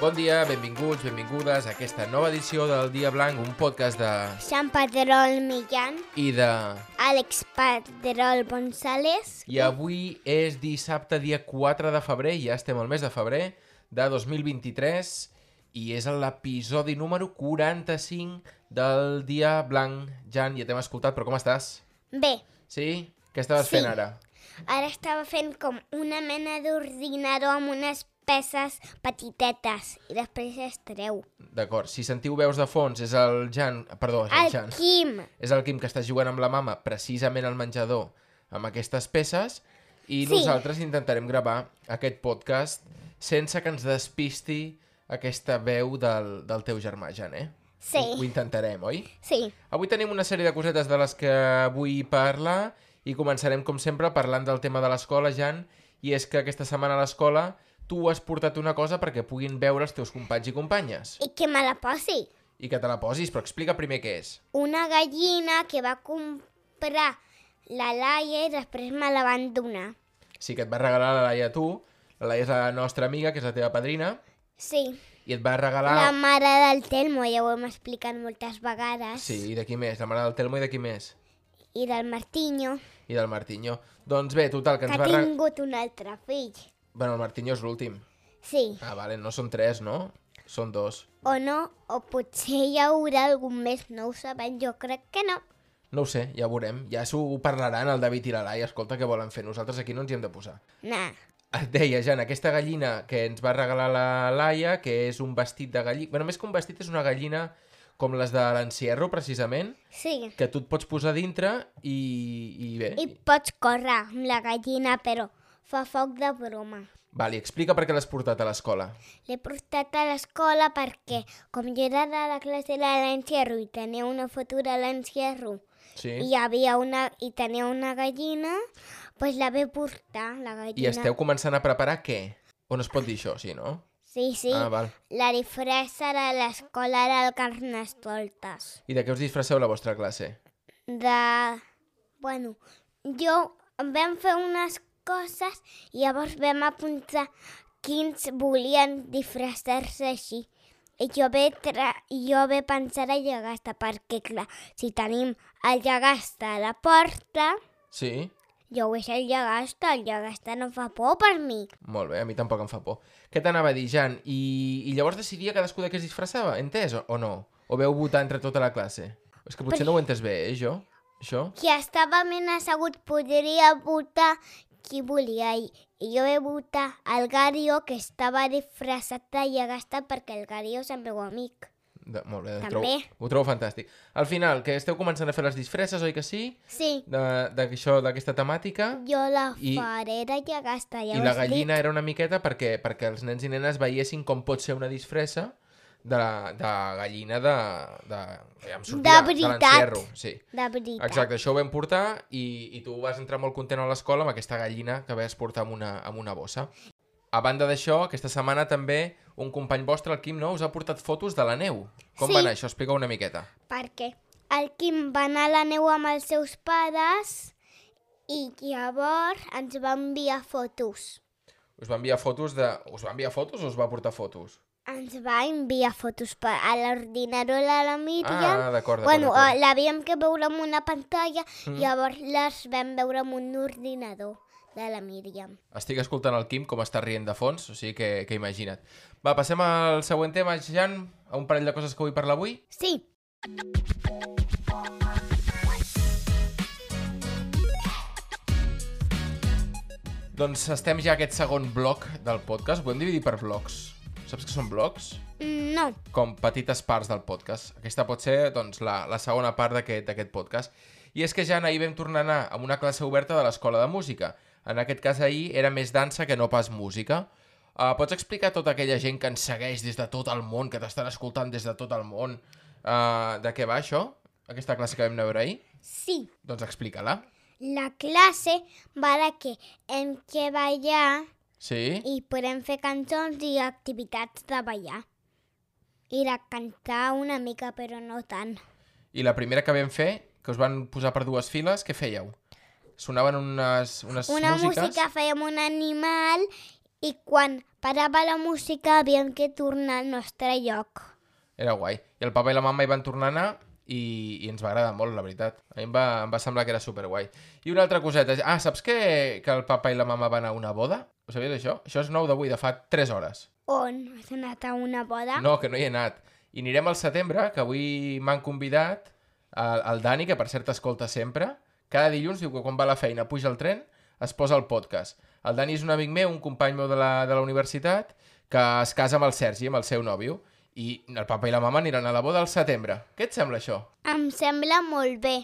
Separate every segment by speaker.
Speaker 1: Bon dia, benvinguts, benvingudes a aquesta nova edició del Dia Blanc, un podcast de...
Speaker 2: Sant Pedrol Millán,
Speaker 1: i de...
Speaker 2: Àlex Pedrol González.
Speaker 1: I avui és dissabte, dia 4 de febrer, ja estem al mes de febrer de 2023 i és l'episodi número 45 del Dia Blanc. Jan, ja t'hem escoltat, però com estàs?
Speaker 2: Bé,
Speaker 1: Sí? Què estaves
Speaker 2: Sí.
Speaker 1: fent ara?
Speaker 2: ara estava fent com una mena d'ordinador amb unes peces petitetes i després es treu.
Speaker 1: D'acord, si sentiu veus de fons, és el Jan... Perdó, és el,
Speaker 2: El
Speaker 1: Jan.
Speaker 2: Quim!
Speaker 1: És el Quim que està jugant amb la mama precisament al menjador amb aquestes peces i
Speaker 2: Sí.
Speaker 1: nosaltres intentarem gravar aquest podcast sense que ens despisti aquesta veu del, del teu germà, Jan, eh?
Speaker 2: Sí.
Speaker 1: Ho, ho intentarem, oi?
Speaker 2: Sí,
Speaker 1: Avui tenim una sèrie de cosetes de les que vull parlar i començarem, com sempre, parlant del tema de l'escola, Jan, i és que aquesta setmana a l'escola tu has portat una cosa perquè puguin veure els teus companys i companyes
Speaker 2: i que me la posi.
Speaker 1: i que te la posis, però explica primer què és.
Speaker 2: Una gallina que va comprar la Laia i després me la van donar.
Speaker 1: Sí que et va regalar la Laia a tu, la Laia és la nostra amiga, que és la teva padrina,
Speaker 2: Sí,
Speaker 1: i et va regalar...
Speaker 2: la mare del Telmo, ja ho hem explicat moltes vegades.
Speaker 1: Sí, i de qui més? La mare del Telmo i de qui més?
Speaker 2: I del Martinho,
Speaker 1: I del Martinyo. Doncs bé, total, que
Speaker 2: que
Speaker 1: ens
Speaker 2: ha
Speaker 1: va... Re...
Speaker 2: tingut un altre fill.
Speaker 1: Bueno, el Martinyo és l'últim.
Speaker 2: Sí.
Speaker 1: Ah, vale, no són tres, no? Són dos.
Speaker 2: o no, o potser hi haurà algun més, no ho sabem, jo crec que no.
Speaker 1: No ho sé, ja ho veurem. Ja s'ho parlaran el David i la Laia. Escolta, què volen fer? Nosaltres aquí no ens hi hem de posar.
Speaker 2: Nah,
Speaker 1: Et deia, Jan, aquesta gallina que ens va regalar la Laia, que és un vestit de gallina... Bueno, més que un vestit, és una gallina com les de l'encierro, precisament,
Speaker 2: sí.
Speaker 1: que tu et pots posar dintre i, i bé...
Speaker 2: I pots córrer amb la gallina, però fa foc de broma.
Speaker 1: Vale, explica per què l'has portat a l'escola.
Speaker 2: L'he portat a l'escola perquè, com jo era de la classe de l'encierro i tenia una foto de l'encierro
Speaker 1: Sí?
Speaker 2: i, hi havia una, i tenia una gallina, doncs pues la ve portar, la
Speaker 1: I
Speaker 2: gallina.
Speaker 1: esteu començant a preparar què? On es pot dir això, sí, no?
Speaker 2: Sí, sí,
Speaker 1: Ah, val.
Speaker 2: la disfressa de l'escola del Carnestoltes.
Speaker 1: I de què us disfresseu la vostra classe?
Speaker 2: de... Bueno, jo vam fer unes coses i llavors vam apuntar quins volien disfressar-se així. I jo ve, tra... jo ve pensar a Llagasta, perquè clar, si tenim el Llagasta a la porta,
Speaker 1: Sí?
Speaker 2: jo vull ser el Llagasta, el Llagasta no fa por per mi.
Speaker 1: Molt bé, a mi tampoc em fa por. Què t'anava a dir, Jan? I, I llavors decidia cadascú de què es disfressava? Entès o, o no? O veu votar entre tota la classe? És que potser no ho entes bé, eh, jo? Això?
Speaker 2: Qui estava ben assegut podria votar qui volia i i jo he votat el Gario que estava disfressat de Llagasta perquè el Gario és el meu amic.
Speaker 1: De, molt bé, ho
Speaker 2: També.
Speaker 1: trobo, ho trobo fantàstic. Al final, que esteu començant a fer les disfresses, oi que sí?
Speaker 2: Sí,
Speaker 1: De- d'això- D'aquesta temàtica?
Speaker 2: jo la
Speaker 1: I-
Speaker 2: faré de Llagasta, ja
Speaker 1: I
Speaker 2: ho
Speaker 1: la
Speaker 2: has dit.
Speaker 1: gallina era una miqueta perquè, perquè els nens i nenes veiessin com pot ser una disfressa de, de gallina de... de, eh, ja em sortirà,
Speaker 2: De veritat.
Speaker 1: l'encierro, sí.
Speaker 2: De veritat.
Speaker 1: Exacte, això ho vam portar i, i tu vas entrar molt content a l'escola amb aquesta gallina que vas portar amb una, amb una bossa. A banda d'això, aquesta setmana també un company vostre, el Quim, no, us ha portat fotos de la neu. Com
Speaker 2: Sí.
Speaker 1: va anar això? Explica una miqueta.
Speaker 2: Perquè el Quim va anar a la neu amb els seus pares i llavors ens va enviar fotos.
Speaker 1: Us va enviar fotos de... Us va enviar fotos o us va portar fotos?
Speaker 2: Ens va enviar fotos per a l'ordinador de la Míriam.
Speaker 1: Ah, d'acord, d'acord.
Speaker 2: Bueno,
Speaker 1: d'acord.
Speaker 2: eh, l'havíem que veure amb una pantalla mm. i llavors les vam veure amb un ordinador de la Míriam.
Speaker 1: Estic escoltant el Quim com està rient de fons, o sigui que, que imagina't. Va, passem al següent tema, Jan, a un parell de coses que vull parlar avui.
Speaker 2: Sí,
Speaker 1: Doncs estem ja a aquest segon bloc del podcast, ho podem dividir per blocs. Saps que són blocs?
Speaker 2: mm, no,
Speaker 1: Com petites parts del podcast. Aquesta pot ser doncs, la, la segona part d'aquest d'aquest podcast. I és que ja ahir vam tornar a anar a una classe oberta de l'escola de música. En aquest cas ahir era més dansa que no pas música. Uh, pots explicar a tota aquella gent que ens segueix des de tot el món, que t'estan escoltant des de tot el món, uh, de què va això? Aquesta classe que vam anar a veure ahir?
Speaker 2: sí.
Speaker 1: Doncs explica-la.
Speaker 2: La classe va de que hem que ballar
Speaker 1: Sí?
Speaker 2: i podem fer cançons i activitats de ballar. I de cantar una mica, però no tant.
Speaker 1: I la primera que vam fer, que us van posar per dues files, què fèieu? Sonaven unes, unes
Speaker 2: Una
Speaker 1: músiques...
Speaker 2: música fèiem un animal i quan Parava la música, havíem que tornar al nostre lloc.
Speaker 1: Era guai. I el papa i la mama hi van tornar a anar i, i ens va agradar molt, la veritat. A mi em va, em va semblar que era superguai. I una altra coseta. Ah, saps que, que el papa i la mama van a una boda? Ho sabies, això? Això és nou d'avui, de fa 3 hores.
Speaker 2: On? Has anat a una boda?
Speaker 1: No, que no hi he anat. I anirem al setembre, que avui m'han convidat el, el Dani, que per cert t'escolta sempre. Cada dilluns diu que quan va a la feina puja al tren, es posa el podcast. El Dani és un amic meu, un company meu de la, de la universitat, que es casa amb el Sergi, amb el seu nòvio. I el papa i la mama aniran a la boda al setembre. Què et sembla això?
Speaker 2: Em sembla molt bé.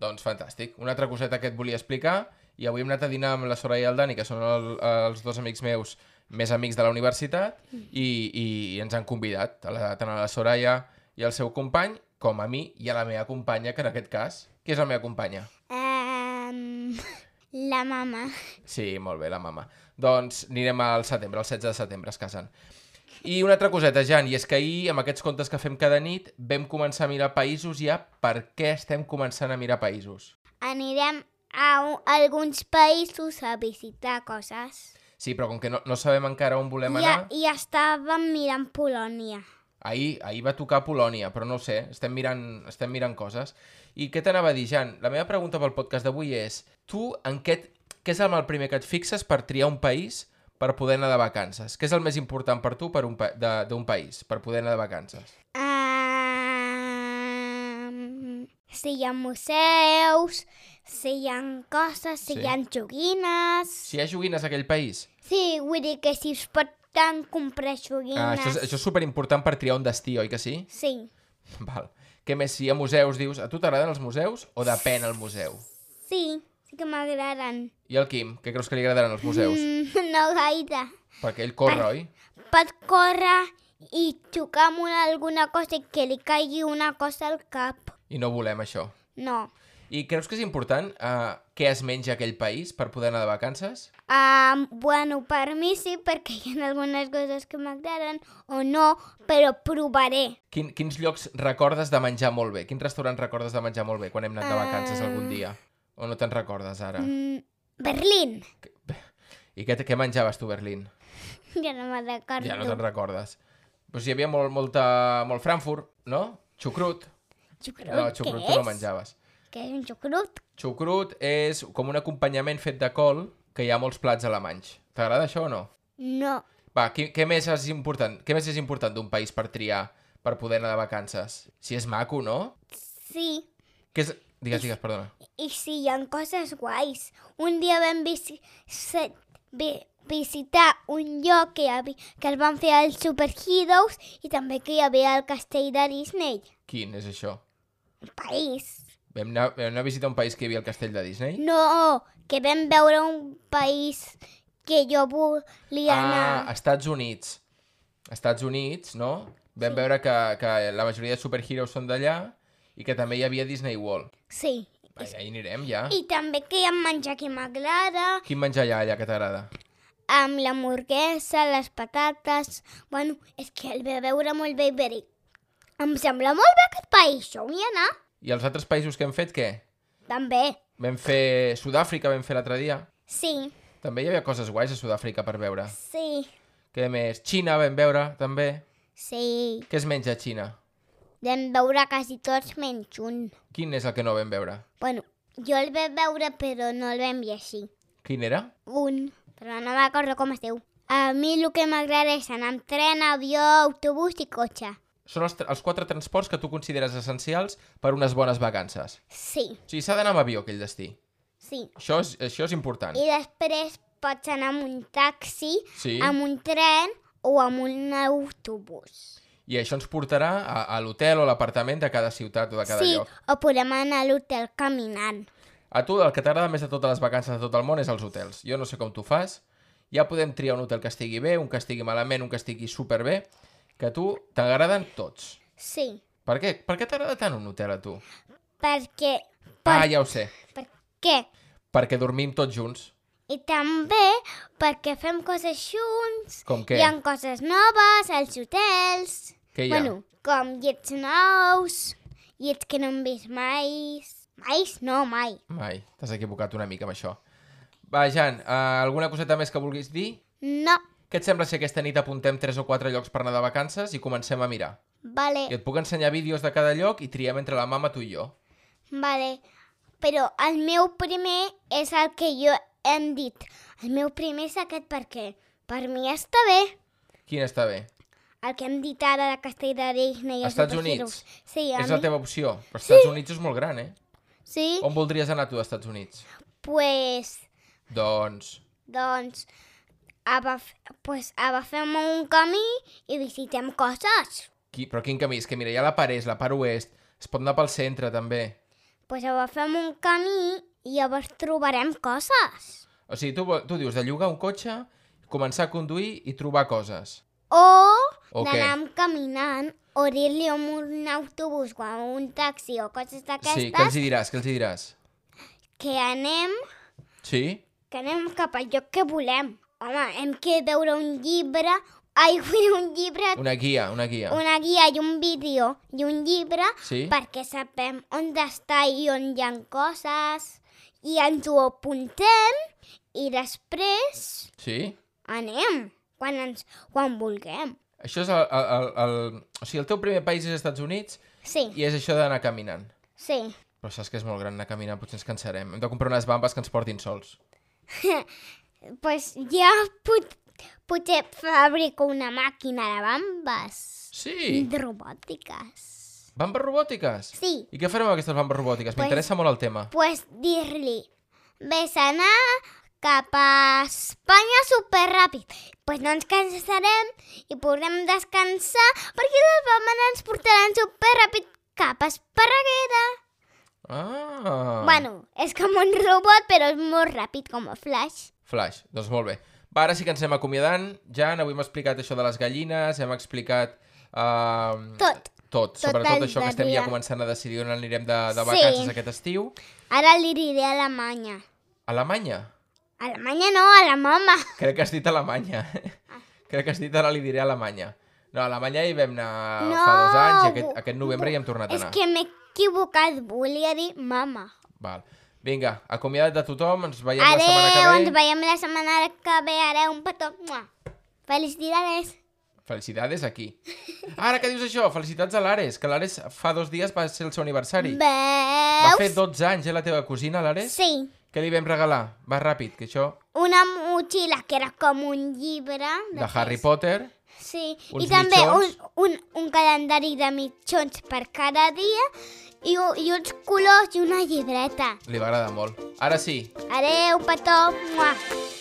Speaker 1: Doncs fantàstic. Una altra coseta que et volia explicar, i avui hem anat a dinar amb la Soraya i el Dani, que són el, els dos amics meus més amics de la universitat, i, i ens han convidat, a la, tant a la Soraya i al seu company, com a mi i a la meva companya, que en aquest cas... Qui és la meva companya?
Speaker 2: Um, la mama.
Speaker 1: Sí, molt bé, la mama. Doncs anirem al setembre, el 16 de setembre es casen. I una altra coseta, Jan, i és que ahir, amb aquests contes que fem cada nit, vam començar a mirar països ja. Per què estem començant a mirar països?
Speaker 2: Anirem a u- alguns països a visitar coses.
Speaker 1: Sí, però com que no, no sabem encara on volem
Speaker 2: I,
Speaker 1: anar...
Speaker 2: a- I estàvem mirant Polònia.
Speaker 1: Ahir, ahir va tocar Polònia, però no ho sé, estem mirant, estem mirant coses. I què t'anava a dir, Jan? La meva pregunta pel podcast d'avui és, tu en què, et- què és el mal primer que et fixes per triar un país per poder anar de vacances? Què és el més important per tu per un pa de- d'un país, per poder anar de vacances?
Speaker 2: Um, si hi ha museus, si hi ha coses, si
Speaker 1: Sí.
Speaker 2: hi ha joguines...
Speaker 1: Si hi ha joguines a aquell país?
Speaker 2: Sí, vull dir que si es pot tant comprar joguines...
Speaker 1: Ah, això, és, això és superimportant per triar un destí, oi que sí?
Speaker 2: Sí.
Speaker 1: Val. Què més? Si hi ha museus, dius, a tu t'agraden els museus o depèn el museu?
Speaker 2: Sí, sí que m'agraden.
Speaker 1: I al Quim, què creus que li agradaran els museus?
Speaker 2: Mm, no gaire.
Speaker 1: Perquè ell corre, oi?
Speaker 2: Pot córrer i xocar amb una, alguna cosa i que li caigui una cosa al cap.
Speaker 1: I no volem això.
Speaker 2: No.
Speaker 1: I creus que és important eh, què es menja a aquell país per poder anar de vacances?
Speaker 2: Um, bueno, per mi sí, perquè hi ha algunes coses que m'agraden o no, però provaré.
Speaker 1: Quin, quins llocs recordes de menjar molt bé? Quins restaurants recordes de menjar molt bé quan hem anat de vacances algun dia? O no te'n recordes ara?
Speaker 2: Mm, Berlín.
Speaker 1: I què, què menjaves tu, a Berlín?
Speaker 2: Ja no me'n recordo.
Speaker 1: Ja no te'n recordes. Però si hi havia molt, molta, molt Frankfurt, no? Xucrut.
Speaker 2: Xucrut,
Speaker 1: No,
Speaker 2: què
Speaker 1: xucrut tu
Speaker 2: és?
Speaker 1: no menjaves.
Speaker 2: Què és un xucrut?
Speaker 1: Xucrut és com un acompanyament fet de col que hi ha molts plats alemanys. T'agrada això o no?
Speaker 2: No.
Speaker 1: Va, què, què més és important? Què més és important d'un país per triar, per poder anar de vacances? Si és maco, no?
Speaker 2: Sí,
Speaker 1: Què és... Digues, digues, perdona.
Speaker 2: I sí, hi ha coses guais. Un dia vam visi se- vi- visitar un lloc que, hi havia, que el van fer els Superheroes i també que hi havia el castell de Disney.
Speaker 1: Quin és això?
Speaker 2: Un país.
Speaker 1: Vam anar, vam anar a visitar un país que hi havia el castell de Disney?
Speaker 2: No, que vam veure un país que jo volia
Speaker 1: ah,
Speaker 2: anar.
Speaker 1: Estats Units. Estats Units, no? Vam veure que, que la majoria de superheroes són d'allà i que també hi havia Disney World.
Speaker 2: Sí.
Speaker 1: Va, ja hi anirem, ja.
Speaker 2: I també que hi ha menjar que m'agrada,
Speaker 1: Quin menjar hi ha allà que t'agrada?
Speaker 2: amb la hamburguesa, les patates... Bueno, és que el ve veure molt bé i va dir, Em sembla molt bé aquest país, jo vull anar.
Speaker 1: I els altres països que hem fet, què?
Speaker 2: També.
Speaker 1: Vam fer Sud-àfrica, vam fer l'altre dia.
Speaker 2: Sí,
Speaker 1: També hi havia coses guais a Sud-àfrica per veure.
Speaker 2: sí,
Speaker 1: Què més? Xina vam veure, també.
Speaker 2: sí.
Speaker 1: Què es menja a Xina?
Speaker 2: Vam veure quasi tots menys un.
Speaker 1: Quin és el que no vam veure?
Speaker 2: Bueno, jo el vaig veure però no el vam llegir.
Speaker 1: Quin era?
Speaker 2: Un, però no m'acordo com es diu. A mi el que m'agrada és anar amb tren, avió, autobús i cotxe.
Speaker 1: Són els, tr- els quatre transports que tu consideres essencials per unes bones vacances.
Speaker 2: Sí,
Speaker 1: O sigui, s'ha d'anar amb avió aquell destí.
Speaker 2: sí.
Speaker 1: Això és, això és important.
Speaker 2: I després pots anar amb un taxi,
Speaker 1: Sí,
Speaker 2: amb un tren o amb un autobús.
Speaker 1: i això ens portarà a, a l'hotel o l'apartament de cada ciutat o de cada
Speaker 2: sí,
Speaker 1: lloc.
Speaker 2: o podem anar a l'hotel caminant.
Speaker 1: A tu el que t'agrada més de totes les vacances de tot el món és els hotels. Jo no sé com tu fas. Ja podem triar un hotel que estigui bé, un que estigui malament, un que estigui superbé, que a tu t'agraden tots.
Speaker 2: Sí,
Speaker 1: Per què? Per què t'agrada tant un hotel a tu?
Speaker 2: perquè...
Speaker 1: Ah, ja ho sé.
Speaker 2: Per què?
Speaker 1: Perquè dormim tots junts.
Speaker 2: I també perquè fem coses junts,
Speaker 1: Com
Speaker 2: Què?
Speaker 1: què?
Speaker 2: hi ha coses noves als hotels,
Speaker 1: Què hi ha?
Speaker 2: bueno, com llits nous, llits que no hem vist mai, mai no, mai.
Speaker 1: Mai, eh, t'has equivocat una mica amb això. Va, Jan, uh, alguna coseta més que vulguis dir?
Speaker 2: No,
Speaker 1: Què et sembla si aquesta nit apuntem 3 o 4 llocs per anar de vacances i comencem a mirar?
Speaker 2: Vale,
Speaker 1: I et puc ensenyar vídeos de cada lloc i triem entre la mama, tu i jo.
Speaker 2: vale. Però el meu primer és el que jo hem dit. El meu primer és aquest perquè per mi està bé
Speaker 1: Quin està bé?
Speaker 2: el que hem dit ara de Castell de Disney i els
Speaker 1: Estats
Speaker 2: superherois.
Speaker 1: Units.
Speaker 2: Sí, a
Speaker 1: És
Speaker 2: mi,
Speaker 1: la teva opció. Però Estats Units és molt gran, eh?
Speaker 2: sí,
Speaker 1: On voldries anar tu, als Estats Units?
Speaker 2: pues,
Speaker 1: Doncs...
Speaker 2: doncs, agaf, pues, agafem un camí i visitem coses.
Speaker 1: Qui... Però quin camí? És que mira, hi ha la part est, la part oest. Es pot anar pel centre, també.
Speaker 2: Pues agafem un camí i llavors trobarem coses.
Speaker 1: O sigui, tu, vo- tu dius de llogar un cotxe, començar a conduir i trobar coses.
Speaker 2: O
Speaker 1: O què?
Speaker 2: d'anar caminant o dir-li a un autobús o a un taxi o coses
Speaker 1: Sí, què
Speaker 2: d'aquestes
Speaker 1: els hi diràs? Què els hi diràs?
Speaker 2: que anem
Speaker 1: Sí?
Speaker 2: que anem cap al lloc que volem. Home, hem que veure un llibre, ai, vull un llibre,
Speaker 1: Una guia, una guia.
Speaker 2: una guia i un vídeo i un llibre
Speaker 1: Sí?
Speaker 2: perquè sapem on està i on hi ha coses i ens ho apuntem i després
Speaker 1: Sí?
Speaker 2: anem quan, ens, quan vulguem.
Speaker 1: Això és el, el, el, el... O sigui, el teu primer país és Estats Units
Speaker 2: Sí,
Speaker 1: i és això d'anar caminant.
Speaker 2: sí.
Speaker 1: Però saps que és molt gran anar caminant, potser ens cansarem. Hem de comprar unes bambes que ens portin sols.
Speaker 2: pues ja pot, potser fabrico una màquina de bambes
Speaker 1: Sí!
Speaker 2: robòtiques.
Speaker 1: Bambes robòtiques!
Speaker 2: Sí,
Speaker 1: I què farem amb aquestes bambes robòtiques?
Speaker 2: Pues-
Speaker 1: M'interessa molt el tema.
Speaker 2: pues dir-li, ves a anar cap a Espanya superràpid. Pues no ens cansarem i podrem descansar perquè les bambes ens portaran superràpid cap a Esparreguera.
Speaker 1: Ah!
Speaker 2: Bueno, és com un robot, però és molt ràpid, com a Flash.
Speaker 1: Flash, doncs molt bé. Va, ara sí que ens anem acomiadant. Jan, avui hem explicat això de les gallines, hem explicat... Uh,
Speaker 2: Tot.
Speaker 1: Tot, sobretot
Speaker 2: el
Speaker 1: això que
Speaker 2: de
Speaker 1: estem ja
Speaker 2: dia.
Speaker 1: començant a decidir on anirem de, de
Speaker 2: Sí.
Speaker 1: vacances aquest estiu.
Speaker 2: Ara li diré a Alemanya.
Speaker 1: Alemanya.
Speaker 2: Alemanya no, a la mama.
Speaker 1: Crec que has dit Alemanya.
Speaker 2: Ah.
Speaker 1: Crec que has dit ara li diré Alemanya. No, a Alemanya hi vam anar
Speaker 2: No,
Speaker 1: fa dos anys i
Speaker 2: bu-
Speaker 1: aquest, aquest novembre hi hem tornat a
Speaker 2: És
Speaker 1: anar.
Speaker 2: que m'he equivocat, volia dir mama.
Speaker 1: Val. Vinga, acomiada't de tothom, ens veiem la
Speaker 2: Adeu,
Speaker 1: setmana
Speaker 2: ens
Speaker 1: que ve.
Speaker 2: veiem la setmana que ve. Adeu, un petó. Mua. Felicidades.
Speaker 1: Felicidades aquí. Ara que dius això, felicitats a l'Ares, que l'Ares fa dos dies va ser el seu aniversari. Va fer
Speaker 2: Veus?
Speaker 1: 12 anys, eh, la teva cosina, l'Ares?
Speaker 2: Sí,
Speaker 1: Què li vam regalar? Va ràpid, que això...
Speaker 2: una motxilla que era com un llibre.
Speaker 1: De Harry Potter.
Speaker 2: Sí,
Speaker 1: Uns
Speaker 2: i també un,
Speaker 1: mitjons.
Speaker 2: un, un calendari de mitjons per cada dia i, u- i uns colors i una llibreta.
Speaker 1: Li va agradar molt. Ara sí,
Speaker 2: Adeu, petó. Mua.